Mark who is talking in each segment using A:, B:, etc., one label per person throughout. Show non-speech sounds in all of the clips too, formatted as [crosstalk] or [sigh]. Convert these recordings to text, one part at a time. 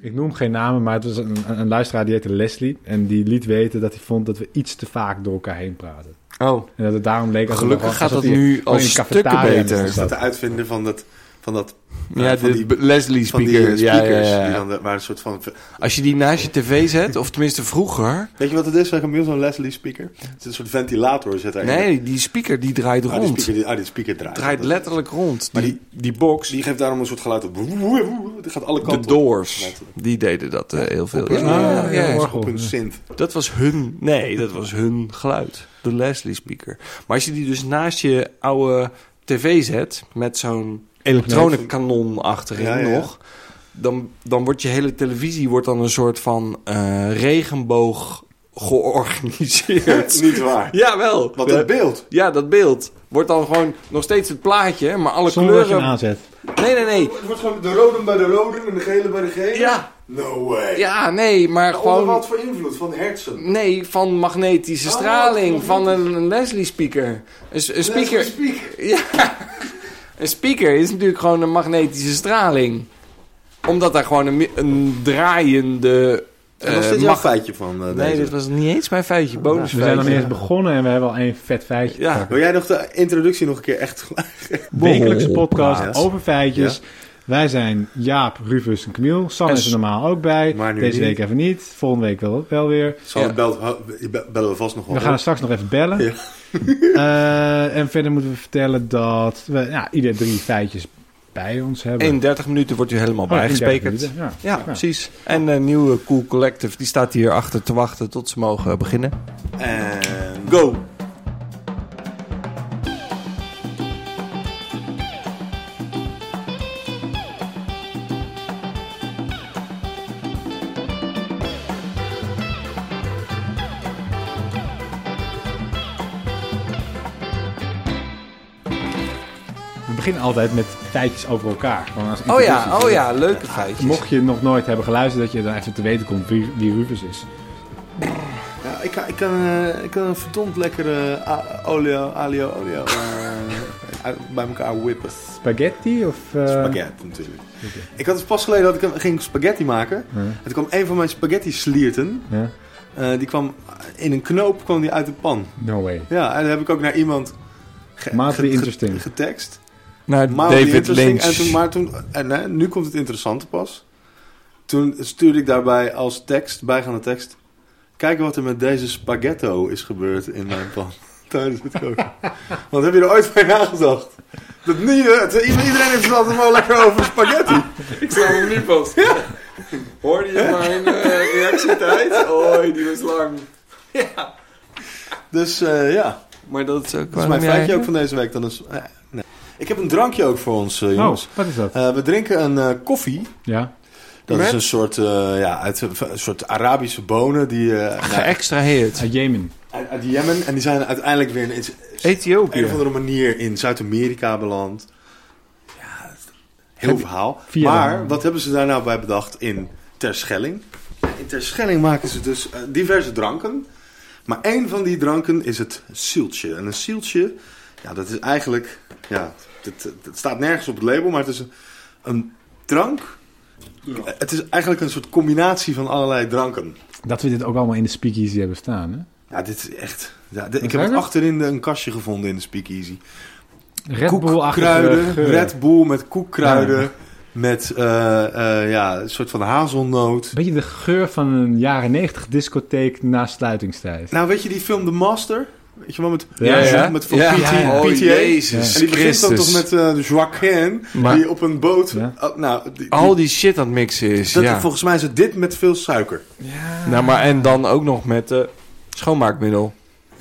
A: Ik noem geen namen, maar het was een, een luisteraar die heette Leslie. En die liet weten dat hij vond dat we iets te vaak door elkaar heen praten.
B: Oh,
A: En dat het daarom leek alsof
B: Gelukkig
A: we
B: gaat
A: alsof
B: dat
A: hij
B: nu
A: gewoon
B: al
A: in een
B: stukken
A: cafetaria
B: beter.
A: moest
B: Is
C: Is dat de
A: zitten.
C: uitvinden van dat, van dat
B: ja,
C: van
B: de
C: die-
B: Leslie
C: van die
B: speaker.
C: eh,
B: ja, ja,
C: speakers
B: ja.
C: Die dan, de- waar een soort van...
B: Als je die naast je tv zet, of tenminste vroeger.
C: Weet je wat het is? We hebben zo'n Leslie speaker. Het is een soort ventilator zit erin.
B: Nee, die speaker die draait
C: Ah, die
B: rond.
C: speaker, die, ah, die speaker draait.
B: draait
C: Dat-
B: letterlijk rond.
C: Maar
B: Die, die box,
C: Die geeft daarom een soort geluid op. Het gaat alle
B: de
C: kanten op.
B: Doors,
C: Letterlijk.
B: die deden dat eh, heel veel. Ja,
A: ja,
B: ja, ja.
A: hoor.
C: Op hun
B: [laughs]
C: synth.
B: Dat was hun, nee, dat was hun geluid. De Leslie speaker. Maar als je die dus naast je oude tv zet, met zo'n elektronenkanon achterin
C: Ja, ja, ja.
B: nog... Dan, dan wordt je hele televisie wordt dan een soort van eh, regenboog
C: [laughs]
B: georganiseerd.
C: Niet waar.
B: Jawel.
C: Want
B: Ja.
C: het beeld.
B: Ja, dat beeld wordt dan gewoon nog steeds het plaatje, maar alle
A: Zonder dat je hem
B: kleuren.
A: aanzet.
B: Nee, nee, nee.
C: Het wordt gewoon de rode bij de rode en de gele bij de gele.
B: Ja,
C: No way.
B: ja, nee, maar
C: Onder
B: gewoon.
C: wat voor invloed? Van hersen.
B: Nee, van magnetische
C: Oh,
B: straling,
C: wat
B: van een, een Leslie speaker. Een, s- een speaker.
C: Leslie speaker.
B: Ja. Een speaker is natuurlijk gewoon een magnetische straling. Omdat daar gewoon een, mi- een draaiende.
C: En was
B: eh,
C: dit jouw
B: mag-
C: feitje van
B: Nee,
C: eh, deze?
B: dit was niet eens mijn feitje, bonus
A: We zijn nog niet eens begonnen en we hebben al één vet feitje.
B: Ja.
A: Ja.
C: Wil jij nog de introductie nog een keer echt [laughs]
A: Wekelijkse podcast
C: Yes.
A: over feitjes. Wij zijn Jaap, Rufus en Camille. Sam
B: En
A: is er
B: s-
A: normaal ook bij.
C: Maar nu
A: Deze
C: niet.
A: week even niet. Volgende week wel, wel weer.
C: Zal
B: Ja.
C: het belt, ho- be- bellen we vast nog wel.
A: We gaan
C: op.
A: er straks nog even bellen.
C: Ja.
A: [laughs] Eh, en verder moeten we vertellen dat we ja, ieder drie feitjes bij ons hebben.
B: In 30 minuten wordt u helemaal
A: Oh, in 30
B: bijgesprekerd.
A: minuten, Ja.
B: Ja, precies. En een nieuwe Cool Collective, die staat hier achter te wachten tot ze mogen beginnen.
C: En...
B: Go!
A: We beginnen altijd met feitjes over elkaar. Gewoon als
B: Oh ja,
A: introductie.
B: oh ja, leuke feitjes.
A: Mocht je nog nooit hebben geluisterd, dat je dan even te weten komt wie, wie Rufus is.
C: Ja, ik, kan, ik, kan, eh, ik kan een verdomd lekkere a- olio, alio, olio eh, uit- bij elkaar whippen.
A: Spaghetti of... eh,
C: Spaghetti natuurlijk. Ik had dus pas geleden dat ik een- ging spaghetti maken.
A: Ja.
C: En toen kwam een van mijn spaghetti slierten.
A: Ja.
C: eh, die kwam in een knoop kwam die uit de pan.
A: No way.
C: Ja, en dat heb ik ook naar iemand ge-
A: Maatly
C: ge- ge-
A: interesting.
C: getekst.
B: Naar
C: Mildly
B: David Lynch.
C: interesting. En toen, maar toen, en, hè, nu komt het interessante pas. Toen stuurde ik daarbij als tekst, bijgaande tekst. Kijk wat er met deze spaghetto is gebeurd in mijn pan. [laughs] Tijdens het
B: [laughs]
C: koken. Want heb je er ooit bij nagedacht? Dat nu, hè, het- iedereen heeft het altijd wel lekker over spaghetti.
B: Ik sta hem nu pas. Hoorde je mijn reactietijd? Oei, die was lang.
C: Dus eh, ja,
B: Maar dat is ook
C: dat is mijn feitje ook van deze week. Dan is, eh, nee. Ik heb een drankje ook voor ons, eh,
A: Oh,
C: jongens.
A: wat is dat?
C: Eh, we drinken een eh, koffie.
A: Ja.
C: Dat
B: Met?
C: is een soort, eh, ja, uit, een soort Arabische bonen die... eh, nou,
B: Geëxtraheerd.
A: Uit Jemen.
C: uit, uit Jemen. En die zijn uiteindelijk weer in op een of
B: Ethiopië.
C: andere manier in Zuid-Amerika beland. Ja, het- heel
A: Heb-
C: verhaal.
A: via-
C: Maar wat hebben ze daar nou bij bedacht in Terschelling? In Terschelling maken ze dus eh, diverse dranken. Maar één van die dranken is het zieltje. En een zieltje, ja, dat is eigenlijk... Ja, het, het staat nergens op het label, maar het is een, een drank... Het is eigenlijk een soort combinatie van allerlei dranken.
A: Dat we dit ook allemaal in de speakeasy hebben staan. Hè?
C: Ja, dit is echt... Ja, dit- ik heb
A: Lekker.
C: het achterin de- een kastje gevonden in de speakeasy.
A: Red Bull eh,
C: koekkruiden, Red Bull met koekkruiden,
A: Ja.
C: met eh, eh, ja, een soort van hazelnoot.
A: Beetje de geur van een jaren negentig discotheek na sluitingstijd.
C: Nou, weet je die film The Master? Weet je wel, met,
A: Ja, ja.
C: met van PT,
B: Oh,
C: PTA.
B: Jezus
C: En die begint dan toch
B: Christus.
C: met eh Joaquin,
B: Maar-
C: die op een boot...
A: Ja.
C: oh, nou, die-
B: Al die shit aan het mixen is,
C: dat,
B: ja.
C: Volgens mij is het dit met veel suiker.
B: Nou, maar en dan ook nog met eh, schoonmaakmiddel.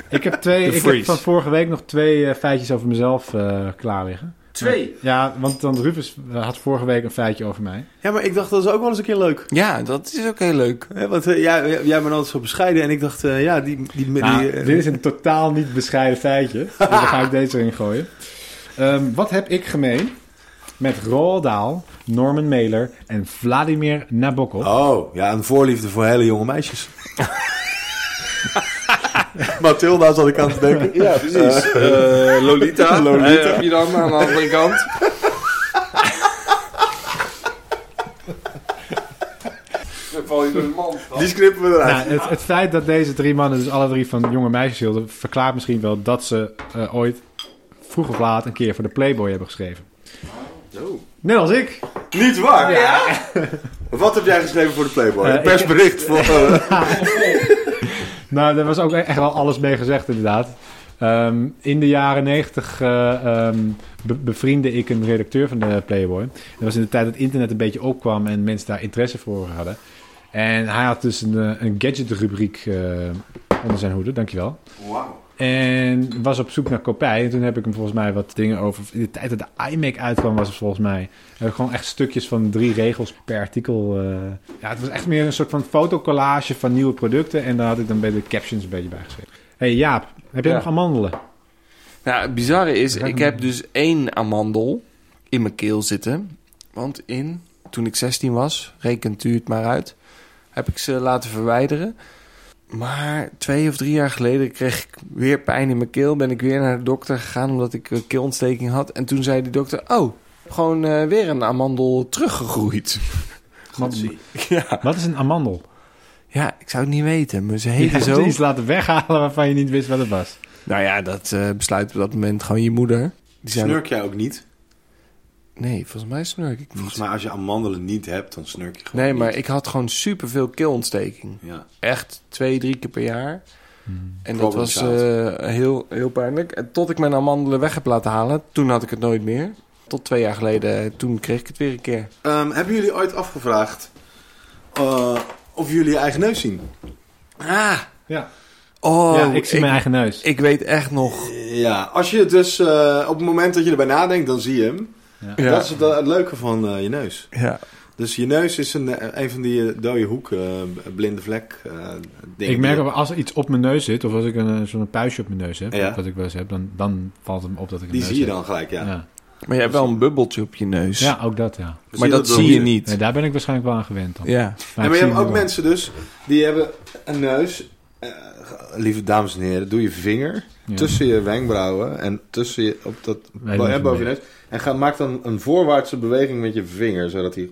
A: Ik heb, twee,
B: De
A: ik heb
B: Freeze.
A: van vorige week nog twee eh, feitjes over mezelf eh, klaar liggen.
B: Twee?
A: Ja, want dan Rufus eh, had vorige week een feitje over mij.
C: Ja, maar ik dacht, dat is ook wel eens een keer leuk.
B: Ja, dat is ook heel leuk.
C: Hè, want eh, jij, jij bent altijd zo bescheiden en ik dacht, eh, ja, die... die, die,
A: Nou,
C: eh,
A: dit is een totaal niet bescheiden
C: [laughs]
A: feitje. Dus daar ga ik deze erin gooien. Ehm, wat heb ik gemeen met Roald Dahl, Norman Mailer en Vladimir Nabokov?
C: Oh, ja, een voorliefde voor hele jonge meisjes. [laughs] Mathilda zat ik aan te denken. Eh, Ja, precies.
B: Eh, [laughs] Lolita.
C: Lolita.
B: Eh, heb je dan aan de andere [laughs] kant. dan val je door de mand.
C: Die knippen we eruit.
A: Nou, het, het feit dat deze drie mannen dus alle drie van jonge meisjes hielden... verklaart misschien wel dat ze eh, ooit vroeg of laat een keer voor de Playboy hebben geschreven.
B: Nou.
C: Zo.
A: Net als ik.
C: Niet waar? Wat heb jij geschreven voor de Playboy?
A: Eh,
C: een persbericht voor...
B: [laughs]
C: eh,
A: Nou, daar was ook echt wel alles mee gezegd, inderdaad. Ehm, in de jaren negentig eh, ehm, bevriende ik een redacteur van de Playboy. Dat was in de tijd dat internet een beetje opkwam en mensen daar interesse voor hadden. En hij had dus een, eh, een gadget-rubriek eh, onder zijn hoede, dankjewel.
C: Wauw.
A: En was op zoek naar kopij. En toen heb ik hem volgens mij wat dingen over... In de tijd dat de iMac uitkwam was het volgens mij... Heb ik gewoon echt stukjes van drie regels per artikel. eh. Ja, het was echt meer een soort van fotocollage van nieuwe producten. En daar had ik dan bij de captions een beetje bij geschreven. hey Jaap, heb jij
B: Ja.
A: nog amandelen?
B: Nou, het bizarre is,
A: Ruik
B: ik
A: hem.
B: heb dus één amandel in mijn keel zitten. Want in, toen ik 16 was, rekent u het maar uit, heb ik ze laten verwijderen. Maar twee of drie jaar geleden kreeg ik weer pijn in mijn keel. Ben ik weer naar de dokter gegaan omdat ik eh, keelontsteking had. En toen zei die dokter, oh, gewoon eh, weer een amandel teruggegroeid.
A: Wat, [laughs]
B: ja.
A: wat is een amandel?
B: ja, ik zou het niet weten, maar ze
A: Je
B: heten
A: hebt
B: zo.
A: iets laten weghalen waarvan je niet wist wat het was.
B: Nou ja, dat eh, besluit op dat moment gewoon je moeder. Die zei,
C: Snurk jij ook niet?
B: nee, volgens mij snurk ik niet.
C: Volgens mij als je amandelen niet hebt, dan snurk je gewoon
B: Nee, maar
C: niet.
B: ik had gewoon superveel keelontsteking.
C: Ja.
B: Echt twee, drie keer per jaar.
A: Hmm.
B: En dat
C: Problem
B: was
C: child.
B: eh, heel, heel pijnlijk. En tot ik mijn amandelen weg heb laten halen, toen had ik het nooit meer. Tot twee jaar geleden, eh, toen kreeg ik het weer een keer.
C: Ehm, hebben jullie ooit afgevraagd eh, of jullie je eigen neus zien?
B: Ah!
A: Ja,
B: Oh,
A: ja ik zie mijn eigen neus.
B: ik weet echt nog.
C: Ja, als je het dus eh, op het moment dat je erbij nadenkt, dan zie je hem.
B: Ja,
C: Dat is het, het leuke van eh, je neus.
B: ja.
C: Dus je neus is een, eh, een van die eh, dode hoeken, eh, blinde vlek eh dingen.
A: ik merk ook als er iets op mijn neus zit, of als ik een, eh, zo'n puistje op mijn neus heb,
C: Ja.
A: wat ik wel eens heb, dan, dan valt het me op dat ik een
C: Die
A: neus
C: zie je
A: heb.
C: dan gelijk, ja. Dus-
A: Ja.
B: Maar je hebt wel een bubbeltje op je neus.
A: ja, ook dat, ja.
C: We
B: maar
C: zien
B: dat
C: wel
B: zie je
C: hier.
B: niet.
A: Nee, daar ben ik waarschijnlijk wel aan gewend dan.
B: Ja.
C: Nee, maar
A: ik
C: je hebt
A: zie
C: ook
A: hem wel.
C: mensen dus, die hebben een neus. eh, lieve dames en heren, doe je vinger
A: Ja.
C: tussen je wenkbrauwen en tussen je, op dat,
A: Wij
C: bo-
A: doen
C: en
A: het
C: boven je neus. En ga, maak dan een voorwaartse beweging met je vinger, zodat hij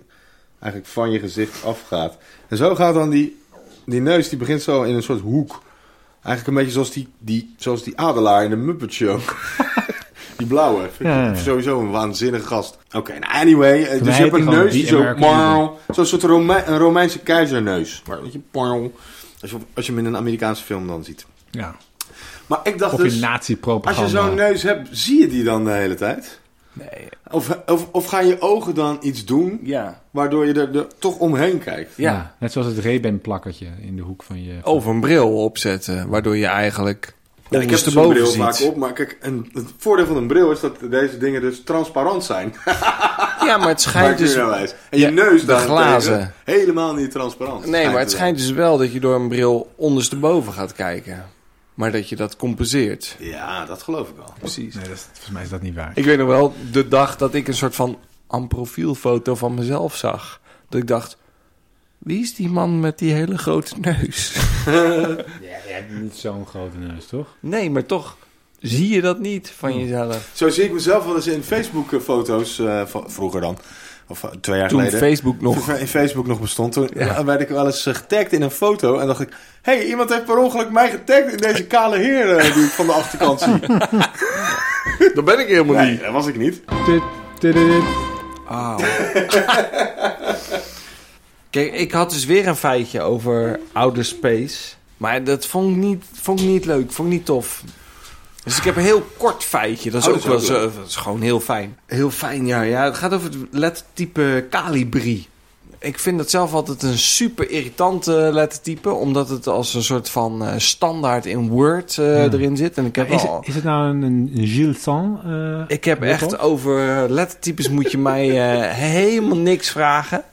C: eigenlijk van je gezicht afgaat. En zo gaat dan die, die neus, die begint zo in een soort hoek. Eigenlijk een beetje zoals die, die, zoals die adelaar in de Muppet Show. [laughs] die blauwe.
A: Ja, ja, ja.
C: Sowieso een waanzinnige gast. Oké, nou anyway. eh,
A: Voor
C: Dus
A: mij
C: je
A: heet
C: hebt een
A: die gewoon
C: neus die
A: The
C: zo...
A: American Eagle.
C: Marl, Zo'n soort Rome- een Romeinse keizerneus. Maar weet je, porl, als je, als je hem in een Amerikaanse film dan ziet.
A: Ja.
C: Maar ik dacht
A: Of
C: dus,
A: in
C: als
A: nazi-propaganda.
C: je zo'n neus hebt, zie je die dan de hele tijd?
B: Nee.
C: Of, of, of gaan je ogen dan iets doen,
B: Ja.
C: waardoor je er, er toch omheen kijkt?
A: ja.
B: ja.
A: net zoals het Reben plakketje in de hoek van je...
B: Of een bril opzetten, waardoor je eigenlijk
C: Ja, ik heb dus een
B: ondersteboven
C: bril
B: ziet.
C: vaak op, maar kijk, een, het voordeel van een bril is dat deze dingen dus transparant zijn.
B: Ja, maar het
C: Maakt
B: schijnt
C: u
B: dus...
C: nou wijs. En je
B: Ja,
C: neus
B: de
C: daarentegen
B: glazen.
C: helemaal niet transparant.
B: Nee, maar het
C: te
B: schijnt dus wel dat je door een bril ondersteboven gaat kijken. Maar dat je dat compenseert.
C: zijn. Ja, dat geloof ik wel.
B: Precies.
A: Nee, dat is- volgens mij is dat niet waar.
B: Ik weet nog wel de dag dat ik een soort van amprofielfoto van mezelf zag. Dat ik dacht, wie is die man met die hele grote neus?
A: Ja, jij hebt niet zo'n grote neus, toch?
B: Nee, maar toch Hmm. zie je dat niet van jezelf.
C: Zo zie ik mezelf wel eens in Facebook-foto's eh, van vroeger dan. Of eh, twee jaar
B: Toen
C: geleden.
B: Facebook [laughs] nog...
C: Toen in Facebook nog bestond. Toen werd ik wel eens eh, getagd in een foto. En dacht ik, hé, hey, iemand heeft per ongeluk mij getagd in deze kale heer eh, die ik van de achterkant zie.
B: Dat ben ik helemaal
C: Nee, dat was ik niet.
A: Dit, dit, dit, dit.
B: Auw. Oh. [laughs] Kijk, ik had dus weer een feitje over outer space. Maar dat vond ik niet, vond ik niet leuk, vond ik niet tof. Dus ik heb een heel kort feitje. Dat is
C: Oh,
B: ook
C: dat is
B: wel
C: ook
B: zo. Dat is gewoon heel fijn. Heel fijn, ja. ja het gaat over het lettertype Calibri. Ik vind dat zelf altijd een super irritante lettertype. Omdat het als een soort van eh, standaard in Word eh,
A: Ja.
B: erin zit. En ik heb
A: Is,
B: al...
A: is het nou een, een Gilles Sans? eh,
B: Ik heb
A: Weet
B: echt
A: wel.
B: over eh, lettertypes moet je mij eh, helemaal niks vragen.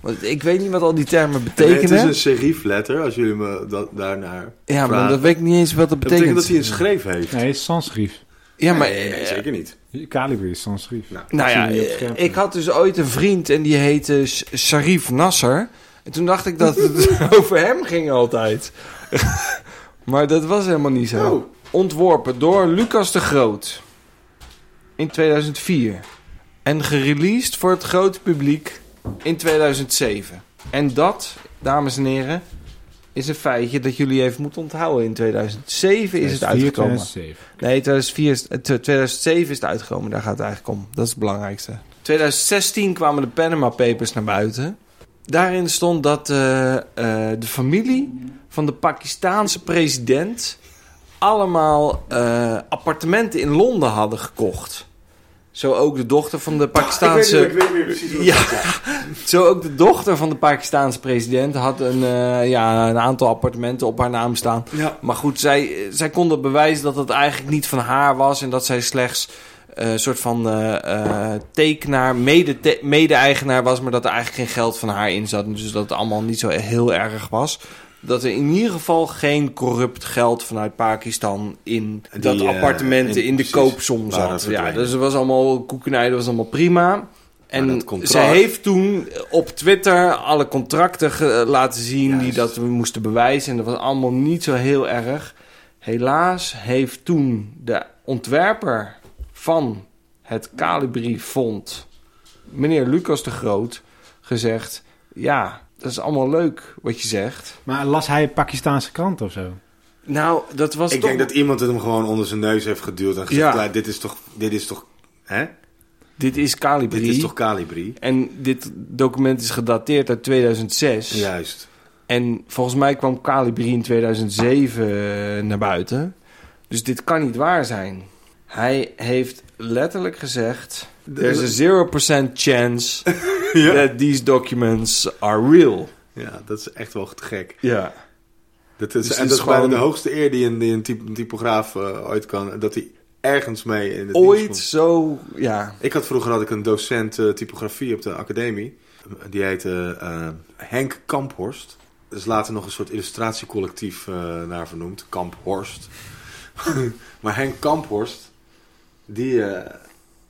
B: Want ik weet niet wat al die termen
C: het
B: betekenen.
C: is dus een serifletter, als jullie me dat, daarnaar
B: ja, maar
C: vragen.
B: dat weet ik niet eens wat dat
C: Dat betekent
B: betekent.
C: dat hij een schreef heeft.
A: Nee, is sans-schrift.
B: Ja, maar...
C: nee, nee,
B: eh,
C: zeker niet.
A: Calibri is sans-schrift.
C: Nou,
B: nou ja,
C: zie je niet op
B: eh,
C: het scherm.
B: ik had dus ooit een vriend en die heette S- Sharif Nasser. En toen dacht ik dat het [laughs] over hem ging altijd. [laughs] maar dat was helemaal niet zo.
C: Oh.
B: Ontworpen door Lucas de Groot. In 2004. En gereleased voor het grote publiek in 2007. En dat, dames en heren, is een feitje dat jullie even moeten onthouden. In 2007 is het
A: 2004,
B: uitgekomen.
A: 2007.
B: Nee, 2004 is, eh, tw- 2007 is het uitgekomen. Daar gaat het eigenlijk om. Dat is het belangrijkste. 2016 kwamen de Panama Papers naar buiten. Daarin stond dat eh, eh, de familie van de Pakistaanse president allemaal eh, appartementen in Londen hadden gekocht. Zo ook de dochter van de Pakistaanse.
C: [laughs] Ik weet, niet meer precies
B: Ja. Zo ook de dochter van de Pakistaanse president had een, eh, ja, een aantal appartementen op haar naam staan.
C: Ja.
B: Maar goed, zij, zij konden bewijzen dat het eigenlijk niet van haar was. En dat zij slechts eh, een soort van eh, eh, tekenaar, mede- te- mede-eigenaar was. Maar dat er eigenlijk geen geld van haar in zat. Dus dat het allemaal niet zo heel erg was. Dat er in ieder geval geen corrupt geld vanuit Pakistan in
C: Die,
B: dat
C: eh,
B: appartementen
C: in-
B: in, de
C: precies,
B: koopsom
C: waren
B: zat. Ja,
C: verdwenen.
B: dus het was allemaal koekenij, dat was allemaal prima.
C: Maar
B: En
C: dat contract-
B: ze heeft toen eh, op Twitter alle contracten ge- eh, laten zien die
C: Juist.
B: dat we moesten bewijzen. En dat was allemaal niet zo heel erg. Helaas heeft toen de ontwerper van het Calibri Fond, meneer Lucas de Groot, gezegd... Ja, dat is allemaal leuk wat je zegt.
A: Maar las hij Pakistaanse krant of zo?
B: Nou, dat was
C: Ik
B: toch...
C: denk dat iemand het hem gewoon onder zijn neus heeft geduwd en gezegd:
B: Ja.
C: "Ja, dit is toch, dit is toch, hè?
B: Dit is Calibri.
C: Dit is toch Calibri?
B: En dit document is gedateerd uit 2006.
C: Juist.
B: En volgens mij kwam Calibri in 2007 naar buiten. Dus dit kan niet waar zijn. Hij heeft letterlijk gezegd... There's a 0% chance
C: [laughs] Ja.
B: that these documents are real.
C: ja, dat is echt wel te gek.
B: Ja.
C: Dat is,
B: Dus
C: en
B: het
C: dat
B: is
C: is bijna
B: gewoon-
C: de hoogste eer die een, die een typ- een typograaf eh, ooit kan, dat hij ergens mee in het nieuws
B: Ooit
C: komt.
B: zo... Ja.
C: Ik had vroeger had ik een docent eh, typografie op de academie. Die heette eh, Henk Kamphorst. Er is later nog een soort illustratiecollectief eh, naar vernoemd. Kamphorst. [laughs] maar Henk Kamphorst, die eh,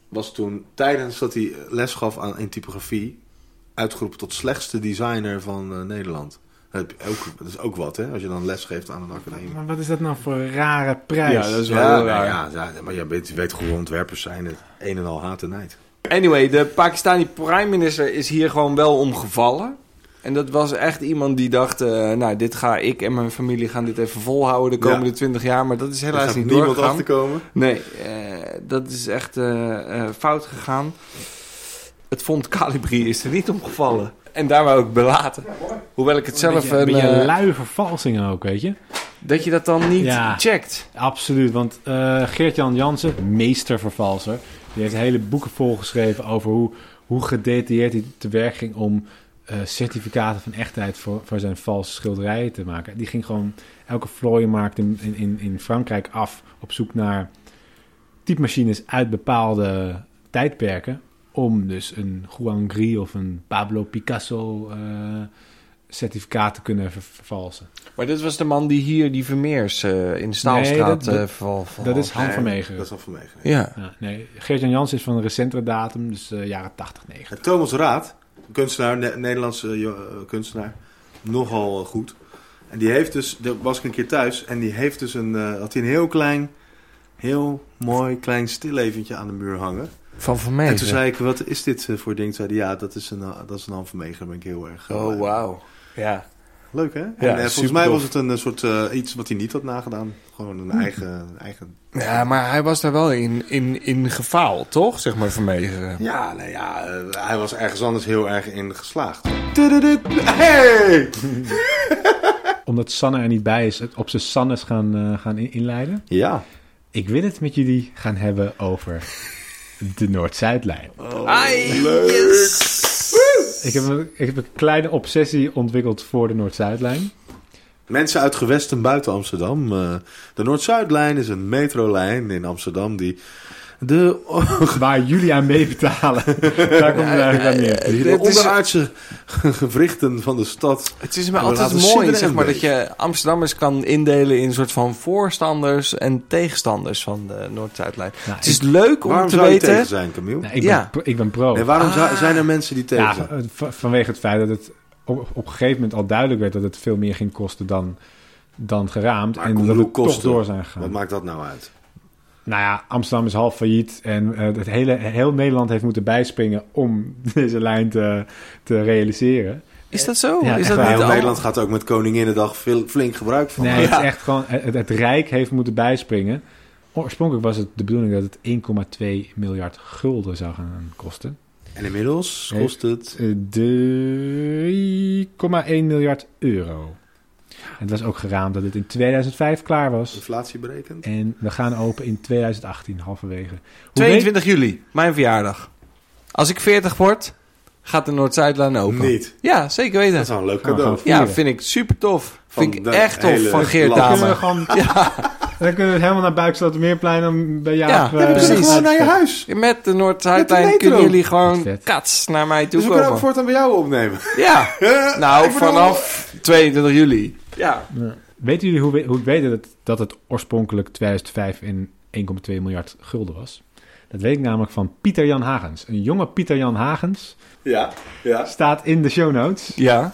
C: was toen tijdens dat hij les gaf aan, in typografie... uitgeroepen tot slechtste designer van eh, Nederland. Dat, heb je ook, dat is ook wat, hè? Als je dan les geeft aan een academie.
A: Maar wat is dat nou voor een rare prijs?
B: Ja, dat is wel
C: Ja,
B: heel
C: nee,
B: raar.
C: ja, ja, maar je weet, je weet hoe ontwerpers zijn. Het een en al haat en nijd.
B: Anyway, de Pakistani prime minister is hier gewoon wel omgevallen. En dat was echt iemand die dacht... eh, nou, dit ga ik en mijn familie gaan dit even volhouden de
C: Ja.
B: komende 20 jaar. Maar dat is
C: Dus Daar
B: helaas
C: gaat
B: niet
C: niemand
B: doorgegaan.
C: achter komen.
B: Nee, eh, dat is echt eh, eh, fout gegaan. Het vond Calibri is er niet omgevallen. En daar wou ik belaten. Hoewel ik het zelf...
A: Zelf een
B: een,
A: beetje
B: eh,
A: lui vervalsingen ook, weet je?
B: dat je dat dan niet
A: Ja.
B: checkt.
A: Absoluut, want eh Geert-Jan Jansen, meestervervalser, die heeft hele boeken volgeschreven over hoe, hoe gedetailleerd hij te werk ging om eh, certificaten van echtheid voor, voor zijn valse schilderijen te maken. Die ging gewoon elke vlooienmarkt in, in- in, in Frankrijk af op zoek naar typemachines uit bepaalde tijdperken om dus een Juan Gris of een Pablo Picasso eh, certificaat te kunnen ver- vervalsen.
B: Maar dit was de man die hier die Vermeers eh, in de Staalstraat
A: dat- dat-
B: eh, verval. verval-
A: Dat is Han
C: Nee,
A: van Meegeren.
C: Dat is al van Meegeren.
B: Ja.
A: Ja, Eh, nee, Geert-Jan Jans is van een recentere datum, dus eh, jaren 80, 90.
C: En Thomas Raad, kunstenaar, Ne- Nederlandse eh, jo- eh, kunstenaar, nogal eh, goed. En die heeft dus, daar was ik een keer thuis, en die heeft dus een, eh, had hij een heel klein, heel mooi klein stileventje aan de muur hangen.
B: Van
C: En toen
B: Vermeers.
C: zei ik, wat is dit eh, voor ding? Zei hij, ja, dat is een, eh, dat is een hand van Meegeren, ben ik heel erg. eh, blij
B: Oh,
C: mee.
B: wauw. Ja.
C: Leuk hè? en, eh, volgens
B: supertof. Hm.
C: mij was het een eh, soort eh, iets wat hij niet had nagedaan. Gewoon een eigen, eigen.
B: Ja, maar hij was daar wel in, in, in gefaald, toch? Zeg maar Vermeers.
C: Ja, nou ja, eh, hij was ergens anders heel erg in geslaagd. Tududut. Hey!
A: Omdat Sanne er niet bij is, het op zijn Sannes gaan, eh, gaan in- inleiden.
C: Ja.
A: Ik wil het met jullie gaan hebben over de Noord-Zuidlijn.
B: Ai, yes.
A: Ik heb, een, ik heb een kleine obsessie ontwikkeld voor de
C: [laughs]
A: Noord-Zuidlijn.
C: Mensen uit gewesten buiten Amsterdam. eh, de Noord-Zuidlijn is een metrolijn in Amsterdam die de,
A: Waar jullie aan mee betalen.
C: [laughs]
A: Daar komt het eigenlijk aan neer.
C: die de
B: het is-
C: onderaardse ge- gewrichten van de stad.
B: Het is me
C: En we
B: altijd
C: laten
B: mooi,
C: Sidderen
B: zeg
C: en
B: maar, dat
C: Beek.
B: je Amsterdammers kan indelen in een soort van voorstanders en tegenstanders van de Noord-Zuidlijn.
A: Nou,
B: het is leuk om
C: Waarom
B: te
C: zou je tegen
B: weten.
C: zijn, Camille?
A: Nou, ik,
B: Ja.
A: ben, pro- ik ben pro.
C: En waarom zou-
B: Ah.
C: zijn er mensen die tegen
A: Ja,
C: zijn?
A: van- vanwege het feit dat het op, op een gegeven moment al duidelijk werd dat het veel meer ging kosten dan, dan geraamd.
C: Maar
A: en
C: kom,
A: dat
C: hoe
A: we toch
C: kosten?
A: door zijn gegaan.
C: Wat maakt dat nou uit?
A: Nou ja, Amsterdam is half failliet en eh, [laughs] het hele, heel Nederland heeft moeten bijspringen om deze lijn te, te realiseren.
B: Is dat zo?
A: Ja,
B: is
A: echt
B: dat
A: waar.
B: niet
C: Heel
B: al-
C: Nederland gaat ook met Koninginnedag veel, flink gebruik van.
A: Nee,
C: maken.
A: het is echt gewoon... Het, het Rijk heeft moeten bijspringen. Oorspronkelijk was het de bedoeling dat het 1,2 miljard gulden zou gaan kosten.
C: En inmiddels
A: Nee.
C: kost het...
A: Eh, 3,1 miljard euro. En het was ook geraamd dat het in 2005 klaar was.
C: Inflatie berekend.
A: En we gaan open in 2018, halverwege. Hoe weet-
B: 22 juli, mijn verjaardag. Als ik 40 word, gaat de Noord-Zuidlaan open.
C: Niet.
B: Ja, zeker
C: Dat
B: weten.
C: is wel een leuk
A: Gaan we
C: cadeau.
A: gaan
B: Ja,
A: vieren.
B: vind ik super tof.
C: Van
B: Vind ik
C: de
B: echt tof
C: hele
B: van Geert
C: land.
A: Dan kunnen we
B: Dame.
A: gewoon... [laughs] Dan kunnen we helemaal naar Buikslotermeerplein om bij jou...
B: Ja,
A: eh,
B: ja, we
C: We kunnen
B: Precies.
C: gewoon naar je huis.
B: Met de
C: Met
B: Noord-Zuidlijn
C: de
B: kunnen
C: metro.
B: jullie gewoon
A: Vet.
B: kats naar mij toe
C: Dus we kunnen ook
B: komen.
C: voortaan bij jou opnemen.
B: [laughs]
C: [laughs]
B: Ja, nou
C: Ik bedoel-
B: vanaf 22 juli. Ja.
A: Weten jullie hoe, we- hoe ik weet dat het, dat het oorspronkelijk 2005 in 1,2 miljard gulden was? Dat weet ik namelijk van Pieter Jan Hagens. Een jonge Pieter Jan Hagens
C: Ja, ja.
A: staat in de show notes.
B: Ja.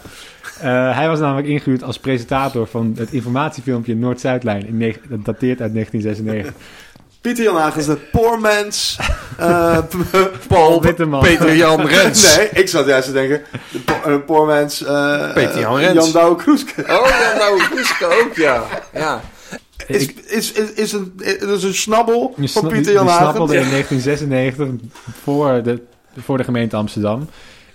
A: Eh, hij was namelijk ingehuurd als presentator van het informatiefilmpje Noord-Zuidlijn. In negen- dat dateert uit 1996.
C: Pieter Jan Hagens, de poor man's... eh,
B: [laughs] Paul
A: Witteman.
B: Peter Jan Rens.
C: nee, ik zat juist te denken... De po- eh, poor man's... eh,
B: Peter Jan
C: eh,
B: Rens.
C: Jan Douwe Kroeske.
B: Oh ja, nou Kuske ook, ja. Ja.
C: Is,
A: Ik-
C: is, is, is een, is een snabbel
A: die
C: van
A: sna-
C: Pieter
A: die-
C: Jan
A: die
C: Hagens.
A: snappelde in 1996 voor de, voor de gemeente Amsterdam.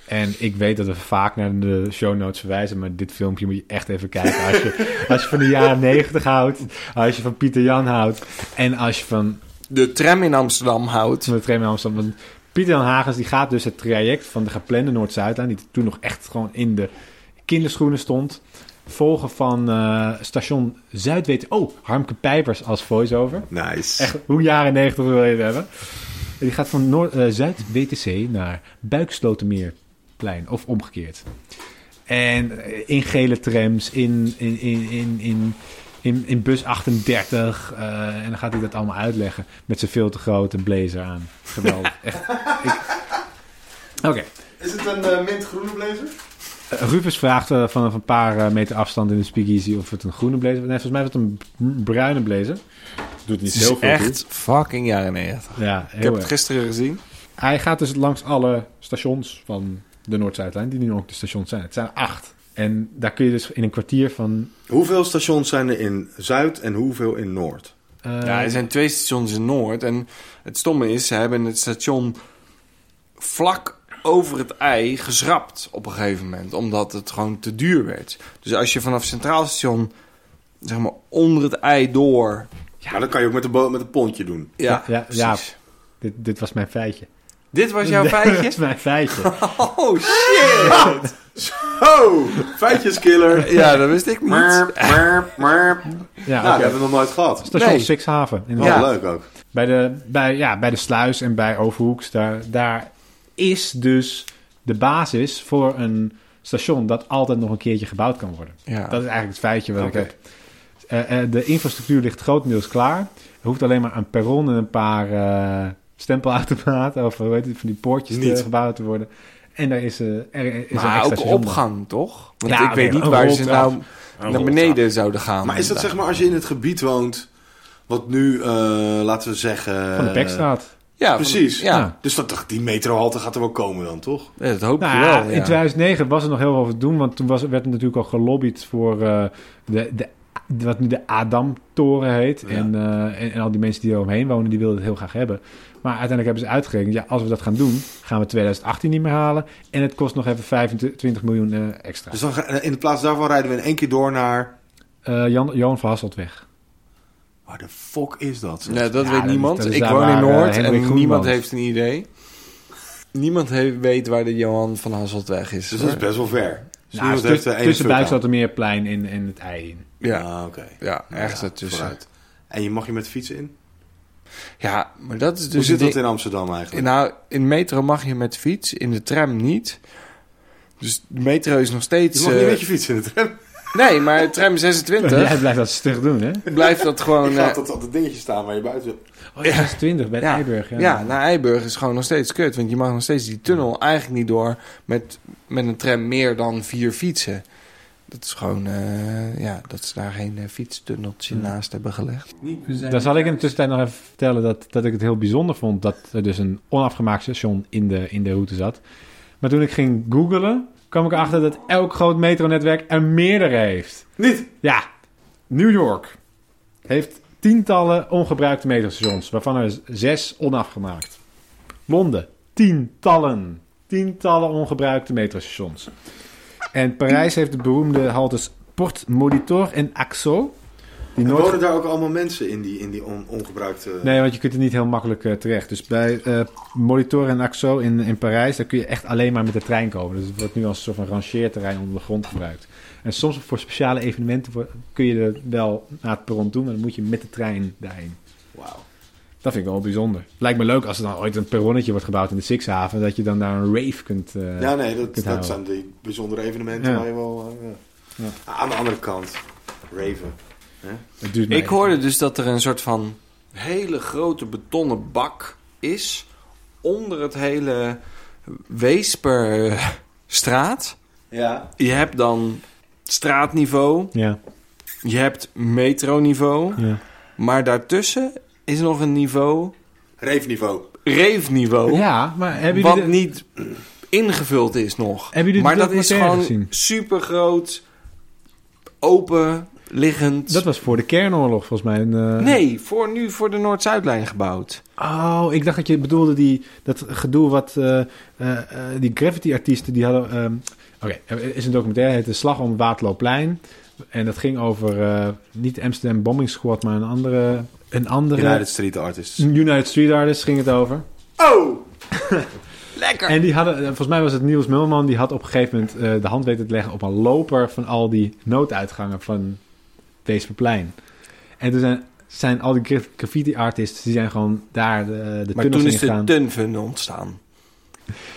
A: En ik weet dat we vaak naar de show notes verwijzen, maar dit filmpje moet je echt even kijken. Als
C: [laughs]
A: je, als je van de jaren 90 houdt, als je van Pieter Jan houdt en als je van
B: De tram in Amsterdam houdt.
A: van de tram in Amsterdam. Want Pieter Jan Hagens die gaat dus het traject van de geplande Noord-Zuidlijn, die toen nog echt gewoon in de kinderschoenen stond, volgen van eh, station Zuidweten. Oh, Harmke Pijpers als voice-over.
C: Nice.
A: Echt, hoe jaren 90 wil je het hebben? En die gaat van Noord, eh, Zuid-WTC naar Buikslotermeerplein of omgekeerd. En eh, in gele trams, in, in, in, in, in, in, in bus 38. eh, en dan gaat hij dat allemaal uitleggen met zijn veel te grote blazer aan. Geweldig. Echt. Ik- Oké.
C: Is het een eh, mintgroene blazer?
A: Eh, Rufus vraagt eh, vanaf een paar eh, meter afstand in de speakeasy of het een groene blazer was. Nee, volgens mij was het een b- bruine blazer. Doet niet
B: Het is echt fucking jaren 90.
A: Ja, heel
B: Ik heb
A: erg.
B: het gisteren gezien.
A: Hij gaat dus langs alle stations van de Noord-Zuidlijn, die nu ook de stations zijn. Het zijn er acht. En daar kun je dus in een kwartier van.
C: Hoeveel stations zijn er in Zuid en hoeveel in Noord?
A: eh,
B: Ja, er zijn twee stations in Noord. En het stomme is, ze hebben het station vlak over het ei geschrapt op een gegeven moment. Omdat het gewoon te duur werd. Dus als je vanaf Centraal Station, zeg maar onder het ei door...
C: Maar dat kan je ook met een, bo- met een pontje doen.
B: Ja,
A: Ja, ja,
B: precies.
A: dit, dit was mijn feitje.
B: Dit was jouw
A: [laughs] Dit
B: feitje?
A: is mijn
B: [laughs]
A: feitje.
B: Oh, shit!
C: Oh, feitjeskiller.
B: Ja, dat wist ik niet.
C: Maar, maar, maar.
A: Ja,
C: Nou, dat
A: oké.
C: hebben we nog nooit gehad.
A: Station
B: Nee.
A: Sixhaven.
C: Wel
A: inderdaad.
C: leuk ook.
A: Bij, de, bij, ja, bij de sluis en bij Overhoeks, daar, daar is dus de basis voor een station dat altijd nog een keertje gebouwd kan worden.
B: Ja.
A: Dat is eigenlijk het feitje wat
B: Nou. Oké.
A: ik heb. Eh, eh, de infrastructuur ligt grotendeels klaar. Er hoeft alleen maar een perron en een paar eh, stempelautomaten [laughs] of hoe heet het, van die poortjes te
C: Niet.
A: gebouwd te worden. En daar is, eh er, er is een
B: maar
A: extra
B: ook
A: station bij.
B: opgang, toch? Want
A: Ja,
B: ik weet
A: oké,
B: niet
A: een
B: waar ze
A: roltrap.
B: nou
A: Een
B: naar beneden zouden gaan.
C: Maar is dat zeg maar als je in het gebied woont, wat nu, eh, laten we zeggen...
B: eh,
A: Van de Bekstraat.
B: Ja, van-
C: Precies.
B: Ja,
A: Ja.
C: Dus dat, die metrohalte gaat er wel komen dan, toch?
B: Ja, dat hoop
A: Nou,
B: ik wel.
A: ja,
B: Ja.
A: in 2009 was er nog heel veel over te doen, want toen was, werd er natuurlijk al gelobbyd voor eh, de, de, wat nu de Adam-toren heet.
C: Ja.
A: En, eh, en, en al die mensen die er omheen wonen, die wilden het heel graag hebben. Maar uiteindelijk hebben ze uitgerekend, ja, als we dat gaan doen, gaan we 2018 niet meer halen. En het kost nog even 25 miljoen eh, extra.
C: Dus dan, ga- in de plaats daarvan rijden we in één keer door naar...
A: Eh, Jan, Johan van Hasseltweg.
C: Waar de fuck is dat?
B: Nee, dat
A: Ja,
B: weet
A: dat-
B: niemand.
A: dat is
B: ik
A: daar
B: woon in
A: waar, eh,
B: Noord
A: Hendrik
B: en
A: Groenman
B: niemand
A: is.
B: heeft een idee. Niemand heeft, weet waar de Johan van Hasseltweg is.
C: Dus dat is
B: hoor.
C: best wel ver. Dus
A: Nou,
C: iemand
A: tu-
C: heeft de ene
A: tussen
C: fuck aan.
A: Buikslotermeerplein en, en het ei in.
B: ja,
C: Ah, oké.
B: ja, ergens
C: Ja,
B: daartussen.
C: vooruit. En je mag je met fietsen in?
B: Ja, maar dat is dus...
C: Hoe zit
B: het
C: dat in Amsterdam
B: ding-
C: eigenlijk?
B: Nou, in de metro mag je met fiets, in de tram niet. Dus de metro is nog
C: Je
B: steeds...
C: mag niet
B: eh,
C: met je fiets in de tram.
B: Nee, maar
A: [laughs]
B: tram 26
A: Jij blijft dat stug doen, hè?
B: blijft dat gewoon...
C: Je gaat
B: eh,
C: dat altijd dingetje staan waar je buiten zit.
A: Oh, ja, 20 bij de
B: Ja.
A: Eiburg. Ja.
B: Ja, naar Eiburg is gewoon nog steeds kut. Want je mag nog steeds die tunnel eigenlijk niet door met, met een tram meer dan vier fietsen. Dat is gewoon, eh, ja, dat ze daar geen eh, fietstunneltje
A: Hmm.
B: naast hebben gelegd.
A: Dan zal ik in de tussentijd nog even vertellen dat, dat ik het heel bijzonder vond dat er dus een onafgemaakt station in de, in de route zat. Maar toen ik ging googlen, kwam ik erachter dat elk groot metronetwerk er meerdere heeft.
C: Niet?
A: Ja, New York heeft tientallen ongebruikte metrostations, waarvan er zes onafgemaakt. Londen, tientallen. Tientallen ongebruikte metrostations. En Parijs heeft de beroemde haltes Port Molitor en Axo. Die
C: En
A: nooit
C: wonen daar ook allemaal mensen in die, in die on- ongebruikte...
B: Eh,
A: Nee, want je kunt er niet heel makkelijk eh, terecht. Dus bij eh Molitor en Axo in, in Parijs, daar kun je echt alleen maar met de trein komen. Dus het wordt nu als een soort van rangeerterrein onder de grond gebruikt. En soms voor speciale evenementen voor- kun je er wel naar het perron doen, maar dan moet je met de trein daarheen.
C: Wauw.
A: Dat vind ik wel bijzonder. Lijkt me leuk als er dan ooit een perronnetje wordt gebouwd in de Sixhaven, dat je dan daar een rave kunt. eh,
C: Ja, nee, dat,
A: kunt
C: dat
A: houden.
C: zijn die bijzondere evenementen
A: Ja.
C: waar je wel... eh, ja.
A: Ja.
C: Aan de andere kant, Raven.
A: het duurt maar
B: Ik
A: even.
B: hoorde dus dat er een soort van hele grote betonnen bak is onder het hele Weesperstraat.
C: Ja.
B: Je hebt dan straatniveau,
A: Ja,
B: je hebt metroniveau,
A: ja.
B: maar daartussen is nog een niveau
C: Reefniveau.
B: reefniveau,
A: ja, maar hebben
B: wat
A: jullie. de-
B: niet ingevuld is nog.
A: Hebben jullie
B: maar
A: de
B: dat is
A: documentaire
B: gewoon
A: gezien?
B: super groot, open, liggend.
A: Dat was voor de kernoorlog volgens mij. Een, eh,
B: Nee, voor nu voor de Noord-Zuidlijn gebouwd.
A: Oh, ik dacht dat je bedoelde die, dat gedoe wat eh, eh, eh, die graffiti-artiesten die hadden. ehm, Oké, er is een documentaire, het heet De Slag om het Waterloopplein. En dat ging over eh, niet de Amsterdam Bombing Squad, maar een andere. Een andere
C: United Street Artists.
A: United Street Artists ging het over.
C: Oh!
B: Lekker!
A: En die hadden, eh, volgens mij was het Niels Mulman, die had op een gegeven moment eh, de hand weten te leggen op een loper van al die nooduitgangen van Weesperplein. En toen zijn, zijn al die graf- graffiti-artists, die zijn gewoon daar eh, de, de
B: maar
A: tunnels
B: toen
A: in
B: is de
A: gegaan.
B: Tunfun ontstaan.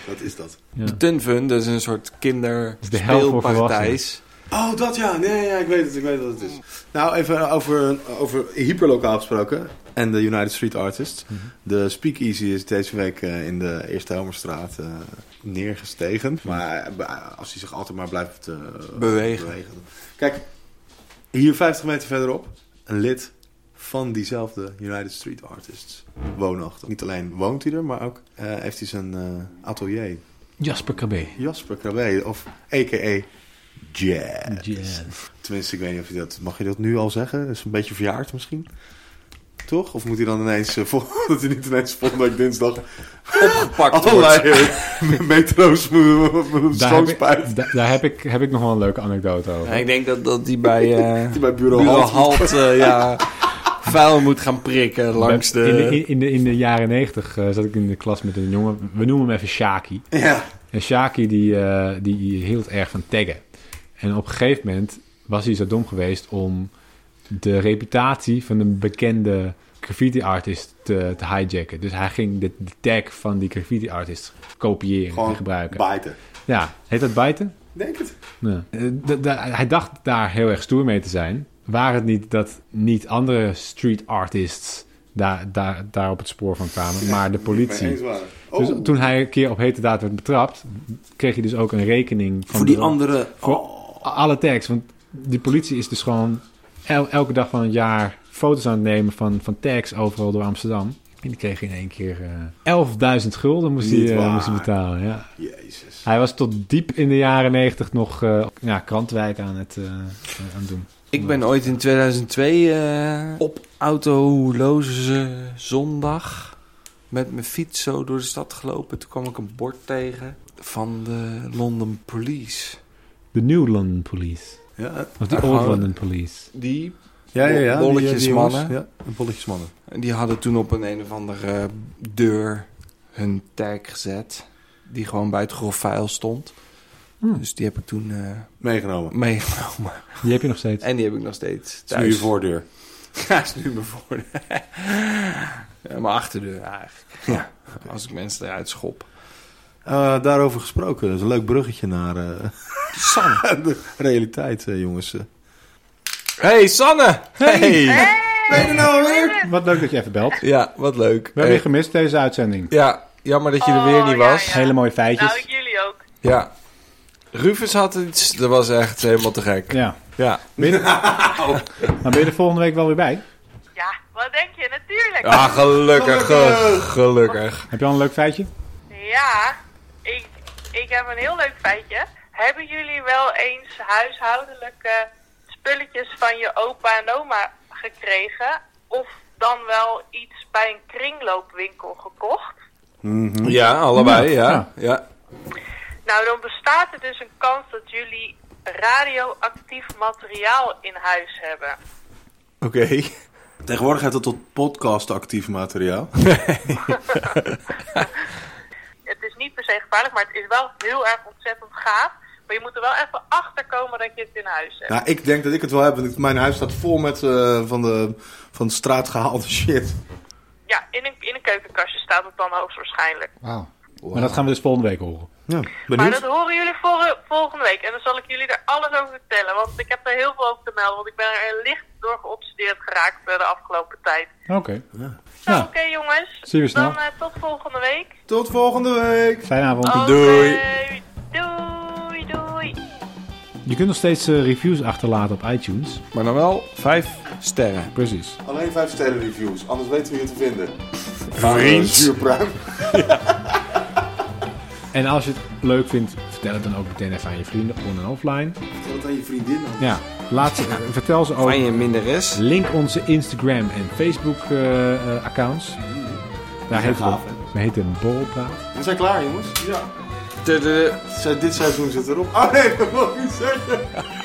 C: Wat is dat?
A: Ja.
B: De Tunfun, dat is een soort
A: is de hel voor
B: kinderspeelparadijs.
C: Oh, dat ja. Nee, ja, ik weet het. Ik weet wat het is. Nou, even over, over hyperlokaal gesproken. En de United Street Artists.
A: Mhm.
C: De Speakeasy is deze week eh, in de Eerste Helmerstraat eh, neergestegen. Maar eh, als hij zich altijd maar blijft eh,
B: Bewegen.
C: Kijk, hier 50 meter verderop. Een lid van diezelfde United Street Artists woonachtig. Niet alleen woont hij er, maar ook eh, heeft hij zijn eh, atelier.
A: Jasper Krabbe.
C: Jasper Krabbe, of a.k.a. Jazz.
A: Jazz.
C: Tenminste, ik weet niet of je dat... Mag je dat nu al zeggen? Is een beetje verjaard misschien? Toch? Of moet hij dan ineens... eh, vol- [laughs] dat hij niet ineens volgende week dinsdag...
B: Opgepakt wordt.
C: allerlei eh, metro's moet- moet- moet
A: Daar, heb ik,
C: schoonspijt.
A: da- daar heb, ik, heb ik nog wel een leuke anekdote over.
B: Ja, ik denk dat, dat die bij,
A: [laughs]
B: eh
C: Die bij bureau,
B: Bureau
C: Halt.
B: Halt eh, ja, vuil moet gaan prikken langs
A: In de,
B: de...
A: in, in de, in de jaren negentig eh, zat ik in de klas met een jongen. We noemen hem even Shaki.
C: Ja.
A: En Shaki die, eh, die hield erg van taggen. En op een gegeven moment was hij zo dom geweest om de reputatie van een bekende graffiti-artist te, te hijacken. Dus hij ging de, de tag van die graffiti-artist kopiëren en
C: Gewoon
A: gebruiken.
C: Bijten.
A: ja, heet dat bijten?
C: Denk het.
A: Ja. Eh, d- d- hij dacht daar heel erg stoer mee te zijn. Waar het niet dat niet andere street artists daar, daar, daar op het spoor van kwamen, maar de
C: Mee eens
A: politie.
C: waren. Oh.
A: Dus toen hij een keer op hete daad werd betrapt, kreeg hij dus ook een rekening van
B: Voor die
A: de-
B: andere... Oh.
A: voor alle tags. Want die politie is dus gewoon el- elke dag van het jaar foto's aan het nemen van, van tags overal door Amsterdam. En die kreeg in één keer eh 11.000 gulden moest hij,
C: Niet
A: eh,
C: waar.
A: moest hij betalen. Ja.
C: Jezus.
A: Hij was tot diep in de jaren negentig nog eh ja, krantwijk aan het, eh, aan het doen.
B: Ik ben ooit in 2002 eh, op autoloze zondag met mijn fiets zo door de stad gelopen. Toen kwam ik een bord tegen van de London Police.
A: De New London Police.
C: Ja,
A: Of de
B: Ja,
A: Old
B: gewoon-
A: London Police.
B: Die,
C: ja, ja. ja.
B: Bolletjes
C: die, eh, jongens.
B: mannen.
C: Ja, bolletjes mannen.
B: die hadden toen op een een of andere deur hun tag gezet. Die gewoon bij het grof vuil stond.
A: Hm.
B: Dus die heb ik toen eh,
C: Meegenomen.
B: meegenomen.
A: Die heb je nog steeds.
B: En die heb ik nog steeds
C: Het is nu je
B: thuis.
C: voordeur.
B: [laughs] Ja, is nu mijn voordeur. [laughs] ja, mijn achterdeur eigenlijk. Ja, als ik mensen eruit schop.
C: Eh, daarover gesproken. Dat is een leuk bruggetje naar eh, [laughs]
B: Sanne.
C: de realiteit, eh, jongens.
B: Hey, Sanne! Hey!
C: Ben je er nou weer?
A: Wat leuk dat je even belt. We
B: Ja, wat leuk.
A: hebben je
B: Hey.
A: gemist deze uitzending.
B: Ja, jammer dat je er
D: Oh,
B: weer niet
D: ja,
B: was.
D: ja.
A: Hele mooie feitjes.
D: Nou, ik jullie ook.
B: Ja. Rufus had iets, dat was echt helemaal te gek.
A: Ja.
B: Ja.
A: Ben je, maar ben je er volgende week wel weer bij?
D: Ja, wat denk je? Natuurlijk.
B: Ah, gelukkig,
C: Gelukkig.
B: ge- gelukkig.
A: Heb je al een leuk feitje?
D: Ja, ik, ik heb een heel leuk feitje. Hebben jullie wel eens huishoudelijke spulletjes van je opa en oma gekregen? Of dan wel iets bij een kringloopwinkel gekocht?
B: Ja, allebei,
A: Mhm. Ja,
B: ja.
A: ja.
B: ja.
D: Nou, dan bestaat er dus een kans dat jullie radioactief materiaal in huis hebben.
B: Oké.
C: Tegenwoordig gaat het tot podcastactief materiaal.
D: Het is niet per se gevaarlijk, maar het is wel heel erg ontzettend gaaf. Maar je moet er wel even achter komen dat je het in huis hebt.
C: Nou, ik denk dat ik het wel heb. want ik- Mijn huis staat vol met eh, van, de, van de straat gehaalde shit.
D: Ja, in een, in een keukenkastje staat het dan hoogstwaarschijnlijk.
A: Wauw. Maar dat gaan we dus volgende week horen.
C: Ja,
D: Maar
C: benieuwd.
D: dat horen jullie vor- volgende week. En dan zal ik jullie er alles over vertellen. Want ik heb er heel veel over te melden. Want ik ben er licht door geobsedeerd geraakt eh, de afgelopen tijd.
A: Oké.
D: Nou,
A: Ja.
D: oké jongens.
A: Zien we snel.
D: Dan eh, tot volgende week.
C: Tot volgende week.
A: Fijne avond.
D: Oké,
B: Doei.
D: Doei, doei.
A: Je kunt nog steeds eh, reviews achterlaten op iTunes.
B: Maar dan wel vijf sterren.
A: Precies.
C: Alleen 5 sterren reviews, anders weten we je te vinden. Eh,
B: Vriend.
C: Zuurpruim.
A: En als je het leuk vindt, vertel het dan ook meteen even aan je vrienden on- en offline.
C: Vertel het aan je vriendin dan.
A: Ja, laat ze, eh, vertel ze ook.
B: Van je minderes.
A: Link onze Instagram en Facebook eh, eh, accounts. Daar heet,
C: gaaf,
A: het, daar heet het een borrelpraat.
C: We zijn klaar, jongens. Ja.
B: Tudu.
C: Dit seizoen zit erop. Oh nee, dat wil ik niet zeggen.